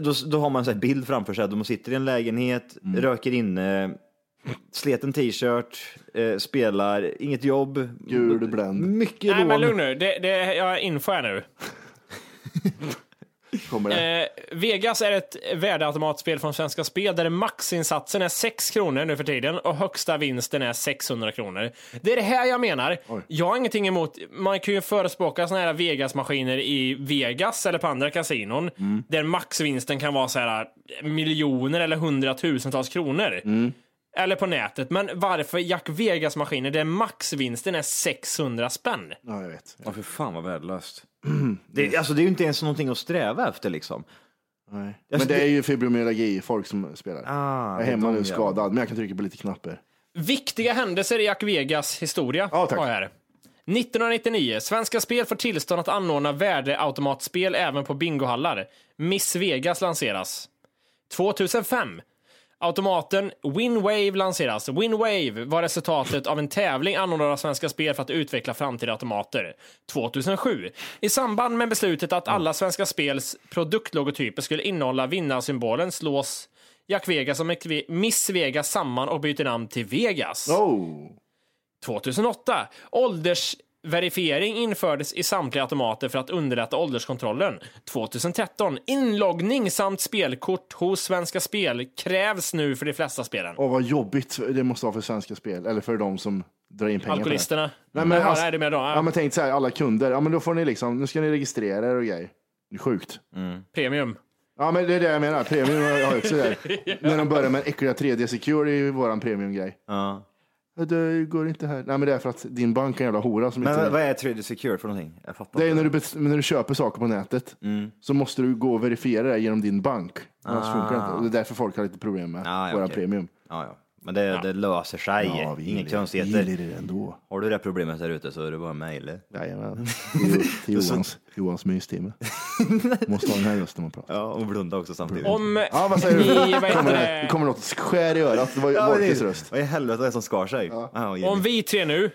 Speaker 2: då, då har man en sån här bild framför sig. De sitter i en lägenhet,
Speaker 3: Mm.
Speaker 2: röker inne, sleten t-shirt, eh, spelar, inget jobb.
Speaker 3: Gul bländ
Speaker 2: Mycket
Speaker 1: Nej,
Speaker 2: lån.
Speaker 1: men lugn nu. Det, det, jag inför här nu.
Speaker 3: kommer det.
Speaker 1: Eh, Vegas är ett värdeautomatspel från Svenska Spel där maxinsatsen är 6 kronor nu för tiden och högsta vinsten är 600 kronor. Det är det här jag menar. Jag har ingenting emot, man kan ju förespråka såna här Vegas-maskiner i Vegas eller på andra kasinon
Speaker 3: Mm.
Speaker 1: där maxvinsten kan vara så här eh, miljoner eller hundratusentals kronor.
Speaker 3: Mm.
Speaker 1: Eller på nätet, men varför Jack Vegas-maskiner där maxvinsten är 600 spänn?
Speaker 3: Ja, jag vet.
Speaker 2: Ja, för fan vad värdelöst. Det, alltså, det är ju inte ens någonting att sträva efter liksom.
Speaker 3: Nej.
Speaker 2: Alltså,
Speaker 3: Men det
Speaker 2: det-
Speaker 3: är ju fibromyalgi, folk som spelar.
Speaker 2: Ah,
Speaker 3: jag är
Speaker 2: det är
Speaker 3: hemma
Speaker 2: de
Speaker 3: nu
Speaker 2: jävlarna.
Speaker 3: skadad, men jag kan trycka på lite knappar.
Speaker 1: Viktiga händelser i Jack Vegas historia
Speaker 3: Ja, tack.
Speaker 1: har jag här. 1999. Svenska Spel får tillstånd att anordna värdeautomatspel även på bingohallar. Miss Vegas lanseras. 2005. Automaten WinWave lanseras. WinWave var resultatet av en tävling anordnad av Svenska Spel för att utveckla framtida automater. 2007. I samband med beslutet att alla Svenska Spels produktlogotyper skulle innehålla vinnarsymbolen slås Jack Vegas och McVe- Miss Vegas samman och byter namn till Vegas.
Speaker 3: Oh.
Speaker 1: 2008. Åldersverifiering infördes i samtliga automater för att underlätta ålderskontrollen. 2013. Inloggning samt spelkort hos Svenska Spel krävs nu för de flesta spelen.
Speaker 3: Åh, vad jobbigt det måste vara för svenska spel, eller för de som drar in pengar. på det.
Speaker 1: Alkoholisterna.
Speaker 3: Nej, men,
Speaker 1: Jaha,
Speaker 3: alltså,
Speaker 1: nej, det är med då.
Speaker 3: ja, men tänk så här, alla kunder, ja, men då får ni liksom, nu ska ni registrera er och grejer. Det är sjukt.
Speaker 2: Mm.
Speaker 1: Premium.
Speaker 3: Ja, men det är det jag menar. Premium har jag också där. När de börjar med den äckliga 3D Secure i våran premiumgrej.
Speaker 2: Ja.
Speaker 3: Ja, Det går inte här. Nej, men det är för att din bank är en jävla hora som
Speaker 2: Men
Speaker 3: inte...
Speaker 2: vad är 3D Secure för någonting? Jag fattar
Speaker 3: Det är
Speaker 2: inte.
Speaker 3: när du, bes- när du köper saker på nätet
Speaker 2: Mm.
Speaker 3: så måste du gå och verifiera det genom din bank. Annars funkar det inte. Och det är därför folk har lite problem med
Speaker 2: Ah, ja,
Speaker 3: våra
Speaker 2: okej.
Speaker 3: premium.
Speaker 2: Ja, ja. Men det, det löser sig.
Speaker 3: Ja, vi
Speaker 2: Inga
Speaker 3: gillar det. Vi
Speaker 2: konstigheter.
Speaker 3: gillar det ändå.
Speaker 2: Har du det problemet där ute så är det bara mejla.
Speaker 3: Jajamän. Till Johans, Johans mystimme. Måste ha den här rösten när man pratar.
Speaker 2: Ja, och blunda också samtidigt.
Speaker 1: Om
Speaker 3: Ja, vad säger du?
Speaker 1: Ni, vad heter
Speaker 3: kommer,
Speaker 1: det?
Speaker 3: det kommer något skär i örat. Det var ju
Speaker 2: Ja, det
Speaker 3: Wolkes
Speaker 2: är-
Speaker 3: röst.
Speaker 2: Vad i helvete är det som skar sig? Ah, och Jimmy.
Speaker 1: Om vi tre nu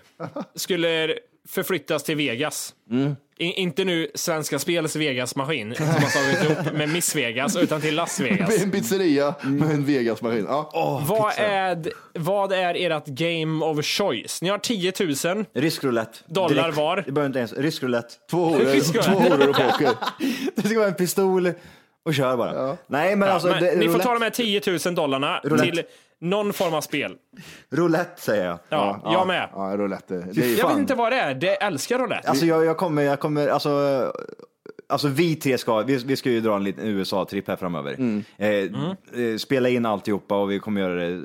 Speaker 1: skulle förflyttas till Vegas.
Speaker 3: Mm.
Speaker 1: I, inte nu Svenska Spels Vegas-maskin som har slagit ihop med Miss Vegas, utan till Las Vegas.
Speaker 3: En pizzeria
Speaker 2: Mm.
Speaker 3: med en Vegas-maskin. Ja.
Speaker 1: Vad är, d- vad är ert game of choice? Ni har 10 000.
Speaker 2: Rysk roulette.
Speaker 1: Dollar var?
Speaker 2: Det behöver inte ens. Rysk roulette.
Speaker 3: Två horor, två horor och poker.
Speaker 2: Det ska vara en pistol och kör bara. Nej, men alltså.
Speaker 1: Men
Speaker 2: det,
Speaker 1: ni får
Speaker 2: roulette,
Speaker 1: ta de här 10 000 dollarna
Speaker 2: Roulette.
Speaker 1: till någon form av spel.
Speaker 2: roulette säger jag.
Speaker 1: Ja, jag med.
Speaker 3: Ja, roulette. Det är ju
Speaker 1: Jag vet
Speaker 3: fan.
Speaker 1: inte vad det är. Det jag älskar roulette.
Speaker 2: Alltså jag, jag kommer, jag kommer, alltså. Alltså vi tre ska, vi, vi ska ju dra en liten USA-tripp här framöver. Eh, Eh, spela in alltihopa och vi kommer göra det.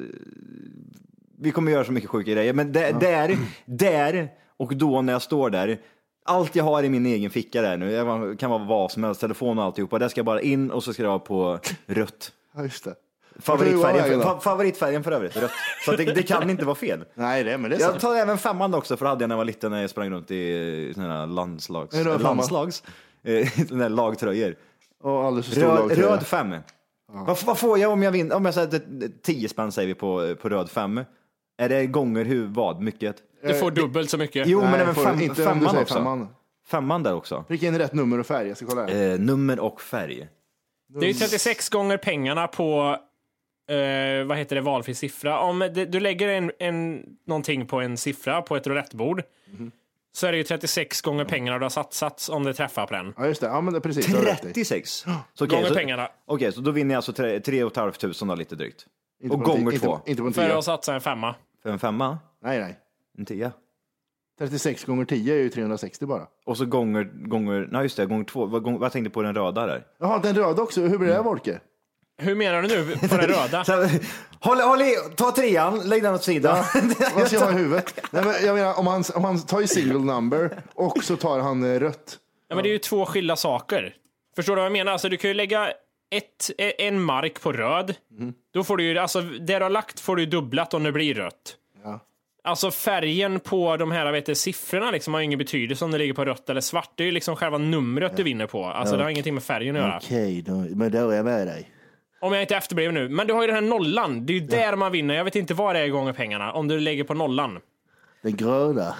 Speaker 2: Vi kommer göra så mycket sjuka grejer. Men där, där, där och då när jag står där. Allt jag har i min egen ficka där nu, jag kan vara vad som helst, telefon och alltihopa. Där ska jag bara in och så ska jag vara på rött.
Speaker 3: Ja, just det. Vart är
Speaker 2: Favoritfärgen,
Speaker 3: du
Speaker 2: fa
Speaker 3: då?
Speaker 2: favoritfärgen för övrigt, rött. Så att det, det kan inte vara fel.
Speaker 3: Nej, det, men det är
Speaker 2: Jag
Speaker 3: sant.
Speaker 2: tar även femman också, för det hade jag när jag var liten när jag sprang runt i eh, såna här landslags...
Speaker 3: En röd femma.
Speaker 2: landslags? eh, Såna här lagtröjor.
Speaker 3: Och alldeles för stor
Speaker 2: Röd,
Speaker 3: lagtröja.
Speaker 2: röd fem. Vad, f- vad får jag om jag vinner? Om jag säger 10 spänn säger vi på, på röd fem. Är det gånger hur, vad, mycket?
Speaker 1: Du får dubbelt så mycket.
Speaker 2: eh, Jo, men
Speaker 3: Nej,
Speaker 2: även
Speaker 3: får
Speaker 2: fem,
Speaker 3: du inte om du
Speaker 2: femman
Speaker 3: säger
Speaker 2: också. Femman.
Speaker 3: femman.
Speaker 2: där också.
Speaker 3: Pricka in rätt nummer och färg. Jag ska kolla här.
Speaker 2: Eh, nummer och färg.
Speaker 1: Det är ju 36 gånger pengarna på eh, vad heter det, valfri siffra. Om det, du lägger en, en, någonting på en siffra på ett roulettebord
Speaker 2: Mhm.
Speaker 1: så är det ju 36 gånger pengarna du har satsats om det träffar på den.
Speaker 3: Ja, just det. Ja, men det- precis. det har du rätt i.
Speaker 2: 36? Så, okej,
Speaker 1: Gånger
Speaker 2: så,
Speaker 1: pengarna.
Speaker 2: Okej, så då vinner jag alltså tre- tre och ett halvt tusen då, lite drygt.
Speaker 3: Inte
Speaker 2: och
Speaker 3: på en
Speaker 2: gånger
Speaker 3: ti-
Speaker 2: två.
Speaker 3: Inte, inte på en
Speaker 1: För
Speaker 3: tia.
Speaker 1: att satsa en femma.
Speaker 2: För en femma,
Speaker 3: Nej, nej.
Speaker 2: en tia.
Speaker 3: 36 gånger 10 är ju 360 bara.
Speaker 2: Och så gånger, gånger, nej just det, gånger två. Vad, gång, vad tänkte jag på den röda där?
Speaker 3: Jaha, den röda också. Hur blir
Speaker 2: Mm.
Speaker 3: det här, Wolke?
Speaker 1: Hur menar du nu på den röda?
Speaker 2: Så, håll, håll i, ta trean, lägg den åt sidan.
Speaker 3: Vad ska jag ha i huvudet? Nej, men jag menar, om han, om han tar ju single number och så tar han eh, rött.
Speaker 1: Ja, men det är ju två skilda saker. Förstår du vad jag menar? Alltså, du kan ju lägga ett, e- en mark på röd. Då får du ju, alltså, det du har lagt får du ju dubblat om det blir rött. Alltså färgen på de här vet du, siffrorna liksom har ju ingen betydelse om det ligger på rött eller svart. Det är ju liksom själva numret du vinner på. Alltså, Det har ingenting med färgen att göra.
Speaker 3: Okej, men då är jag med dig.
Speaker 1: Om jag inte efterbliven nu. Men du har ju den här nollan. Det är ju där man vinner. Jag vet inte vad det är gånger pengarna. Om du lägger på nollan.
Speaker 3: Den gröna.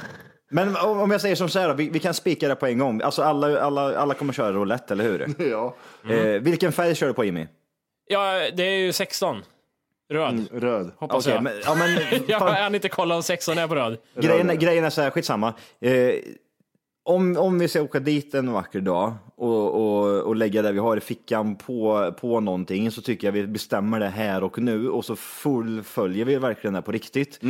Speaker 2: Men om om jag säger som så här då, vi, vi kan spika det på en gång. Alltså alla, alla, alla kommer köra roulette, eller hur?
Speaker 3: Ja,
Speaker 2: Eh, vilken färg kör du på Jimmy?
Speaker 1: Ja, det är ju 16. Röd.
Speaker 3: röd.
Speaker 1: Hoppas
Speaker 2: Okej,
Speaker 1: jag.
Speaker 2: men, ja, men,
Speaker 1: Jag
Speaker 2: fan,
Speaker 1: hann inte kolla om 16 är på röd.
Speaker 2: grejen, grejen är så här, skitsamma. Eh, om, om vi ska åka dit en vacker dag och, och, och lägga det vi har i fickan på, på någonting så tycker jag vi bestämmer det här och nu och så fullföljer vi verkligen det på riktigt.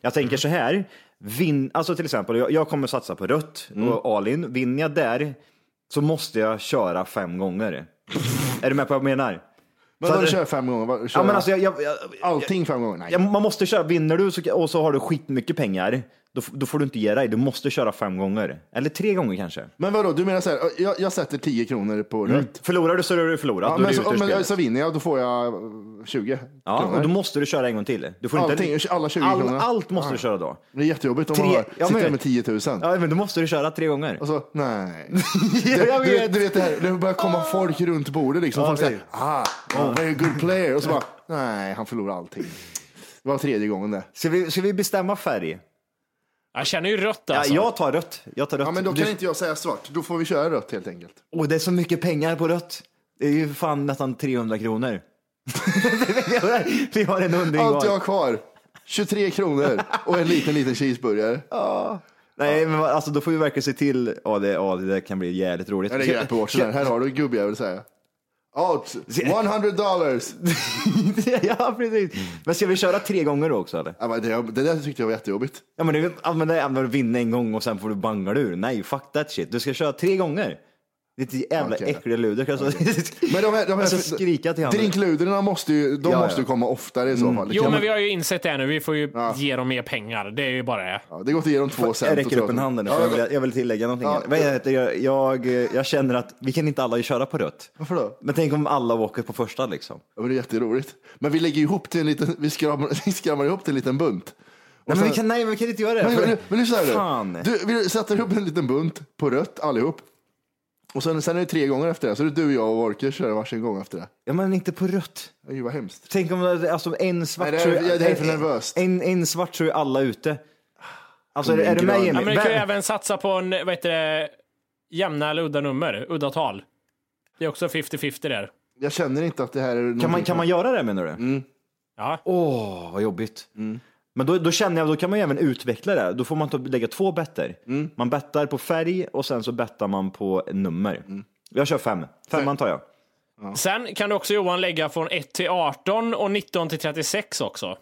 Speaker 2: Jag tänker så här, vin, alltså till exempel, jag, jag kommer satsa på rött och Alin, vinner jag där så måste jag köra fem gånger. är du med på vad jag menar?
Speaker 3: Men
Speaker 2: Så
Speaker 3: då
Speaker 2: att-
Speaker 3: kör fem gånger. vad- Kör
Speaker 2: Ja, men alltså, jag, jag, jag,
Speaker 3: Allting fem gånger? Nej.
Speaker 2: Ja, man måste köra, vinner du så, och så har du skitmycket pengar, då, f- då får du inte ge dig. Du måste köra fem gånger. Eller tre gånger kanske.
Speaker 3: Men vadå, du menar så här, jag, jag sätter 10 kronor på
Speaker 2: Mm.
Speaker 3: rött.
Speaker 2: Förlorar du så är du förlorat.
Speaker 3: Ja,
Speaker 2: då är
Speaker 3: men
Speaker 2: du
Speaker 3: så,
Speaker 2: ute ur
Speaker 3: men
Speaker 2: spelet.
Speaker 3: så vinner jag, då får jag eh, 20
Speaker 2: ja,
Speaker 3: kronor.
Speaker 2: och då måste du köra en gång till. Du får
Speaker 3: Allting,
Speaker 2: inte,
Speaker 3: alla 20
Speaker 2: all,
Speaker 3: kronorna.
Speaker 2: Allt måste du köra då.
Speaker 3: Det är jättejobbigt om man
Speaker 2: Tre-
Speaker 3: har,
Speaker 2: ja,
Speaker 3: sitter
Speaker 2: men-
Speaker 3: där med 10 000.
Speaker 2: Ja, men då måste du köra tre gånger.
Speaker 3: Och så, nej.
Speaker 2: jag
Speaker 3: du, du,
Speaker 2: vet.
Speaker 3: du vet Ah. det här, det börjar komma folk runt bordet liksom.
Speaker 2: Ja,
Speaker 3: folk säger,
Speaker 2: precis.
Speaker 3: ah, oh, very good player. Och så bara, nej, han förlorar allting. Det var tredje gången det.
Speaker 2: Ska vi, ska vi bestämma färg?
Speaker 1: Jag känner ju rött
Speaker 2: Ja,
Speaker 1: alltså.
Speaker 2: jag tar rött. Jag tar rött.
Speaker 3: Ja, men då
Speaker 2: Du-
Speaker 3: kan inte jag säga svart. Då får vi köra rött helt enkelt.
Speaker 2: Åh, det är så mycket pengar på rött. Det är ju fan nästan 300 kronor. vi har en hundring
Speaker 3: Allt jag
Speaker 2: kvar.
Speaker 3: har kvar, 23 kronor och en liten, liten cheeseburgare.
Speaker 2: Nej, men alltså, då får vi verkligen se till. Ja, det, ja, det kan bli jävligt roligt.
Speaker 3: Jag lägger Apple Watchen här. Här har du gubbjävel, säger jag. Out, 100 dollars.
Speaker 2: ja, precis. Men ska vi köra tre gånger då också eller?
Speaker 3: Ja, men det, det där tyckte jag var jättejobbigt.
Speaker 2: Ja, men det ja, men det är att vinna en gång och sen får du banga ur. Nej, fuck that shit. Du ska köra tre gånger. Ditt jävla
Speaker 3: Okej.
Speaker 2: äckliga luder. Alltså,
Speaker 3: Men de här, de här
Speaker 2: alltså, skrika till honom.
Speaker 3: drinkluderna måste
Speaker 2: Ja,
Speaker 3: ju de
Speaker 2: Mm. ja.
Speaker 3: måste ju komma oftare i så fall. Det
Speaker 1: Jo,
Speaker 3: kan
Speaker 1: men
Speaker 3: man-
Speaker 1: vi har ju insett det här nu. Vi får ju
Speaker 3: Ja.
Speaker 1: ge dem mer pengar. Det är ju bara det.
Speaker 3: ja, det går inte igenom två cent.
Speaker 2: Jag
Speaker 3: och
Speaker 2: räcker
Speaker 3: så.
Speaker 2: upp en hand här nu, för
Speaker 3: Ja,
Speaker 2: jag, vill, jag vill tillägga någonting.
Speaker 3: Ja,
Speaker 2: här. Vad heter jag, jag, jag känner att vi kan inte alla köra på rött.
Speaker 3: Varför då?
Speaker 2: Men tänk om alla åker på första liksom.
Speaker 3: Ja, men det är jätteroligt. Men vi lägger ihop till en liten, vi skramlar, vi skramlar ihop till en liten bunt.
Speaker 2: Nej, men
Speaker 3: sen-
Speaker 2: vi kan, nej, men vi kan inte göra det.
Speaker 3: Men,
Speaker 2: för-
Speaker 3: men, men lyssna här
Speaker 2: Fan.
Speaker 3: nu. Du, vi sätter ihop en liten bunt på rött allihop. Och sen, sen är det tre gånger efter det. Så det är du, jag och Walker kör varsin gång efter det.
Speaker 2: Ja, men inte på rött.
Speaker 3: Oj, vad hemskt.
Speaker 2: Tänk om det- alltså, en svart
Speaker 3: Nej, det är-
Speaker 2: så
Speaker 3: jag är därför
Speaker 2: en-
Speaker 3: nervös.
Speaker 2: En, en svart så är alla ute. Alltså, är, är du med
Speaker 3: grön.
Speaker 2: Jimmy?
Speaker 1: Ja, men du kan ju
Speaker 2: Vem-
Speaker 1: även satsa på en, vad heter det, jämna eller udda nummer, udda tal. Det är också 50-50 där.
Speaker 3: Jag känner inte att det här är
Speaker 2: Kan man,
Speaker 3: någonting
Speaker 2: kan man göra det menar du? Åh,
Speaker 3: Mm.
Speaker 1: Ja.
Speaker 2: vad jobbigt. Men då, då känner jag, då kan man ju även utveckla det. Då får man ta, lägga två better.
Speaker 3: Mm.
Speaker 2: Man bettar på färg och sen så bettar man på nummer.
Speaker 3: Mm.
Speaker 2: Jag kör fem. Femman tar jag.
Speaker 1: Sen kan du också Johan lägga från 1 till 18 och 19 till 36 också.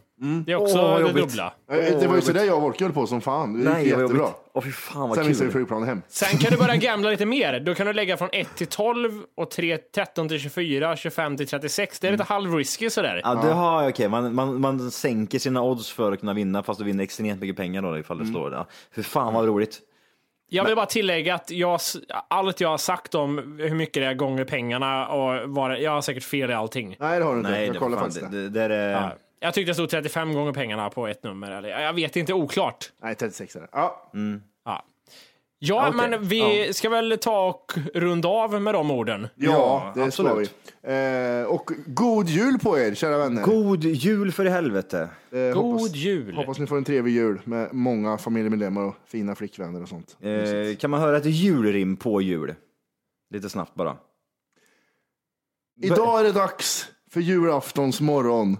Speaker 1: Det är också
Speaker 2: Åh,
Speaker 1: det
Speaker 2: vad jobbigt.
Speaker 1: dubbla.
Speaker 3: Eh, Det var ju sådär jag och Walker höll på som fan. Det gick
Speaker 2: Nej, vad
Speaker 3: jättebra.
Speaker 2: jobbigt. Åh, fy fan vad
Speaker 3: Sen missade vi
Speaker 2: kul.
Speaker 3: flygplanet hem.
Speaker 1: Sen kan du börja gamla lite mer. Då kan du lägga från 1 till 12 och 3, 13 till 24, 25 till 36. Det är lite halvrisky sådär.
Speaker 2: Ja, det har jag. Okej, man, man, man sänker sina odds för att kunna vinna, fast du vinner extremt mycket pengar då ifall det
Speaker 3: Mm.
Speaker 2: slår. Ja. Fy fan vad roligt.
Speaker 1: Jag vill bara tillägga att jag, allt jag har sagt om hur mycket det är gånger pengarna och vad det, jag har säkert fel i allting.
Speaker 3: Nej, det har du inte.
Speaker 2: Nej,
Speaker 3: jag
Speaker 2: det,
Speaker 3: kollar
Speaker 2: fan,
Speaker 3: faktiskt
Speaker 2: det,
Speaker 3: det.
Speaker 2: det, det är, det-
Speaker 1: Ja. Jag tyckte det stod 35 gånger pengarna på ett nummer. Eller, jag vet inte, oklart.
Speaker 3: Nej, 36 är det. Ja,
Speaker 1: Ja, ja
Speaker 2: Okej.
Speaker 1: men vi ska väl ta och runda av med de orden.
Speaker 3: ja, det
Speaker 2: absolut.
Speaker 3: ska vi. Eh, och god jul på er, kära vänner.
Speaker 2: God jul för i helvete.
Speaker 3: Eh,
Speaker 1: God jul!
Speaker 3: Hoppas ni får en trevlig jul med många familjemedlemmar och fina flickvänner och sånt.
Speaker 2: Eh, kan man höra ett julrim på jul? Lite snabbt bara.
Speaker 3: Idag är det dags för julaftons morgon.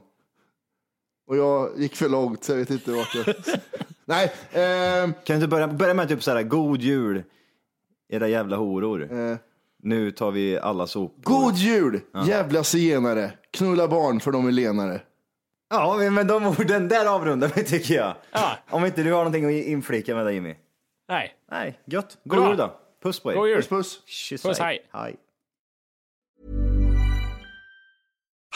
Speaker 3: Och jag gick för långt så jag vet inte vart jag... Nej, ehm,
Speaker 2: Kan du inte börja, börja med typ så här, god jul era jävla horor.
Speaker 3: eh,
Speaker 2: Nu tar vi alla sopor.
Speaker 3: god jul jävla zigenare. Knulla barn för de är lenare.
Speaker 2: Ja, men med de orden, där avrundar vi tycker jag.
Speaker 1: Ja.
Speaker 2: Om inte du har någonting att inflika med dig Jimmy.
Speaker 1: Nej,
Speaker 2: Nej, gött. God
Speaker 1: Bra.
Speaker 2: jul då. Puss på er.
Speaker 1: god jul!
Speaker 3: Puss puss.
Speaker 2: Kyss,
Speaker 1: Puss,
Speaker 2: hej.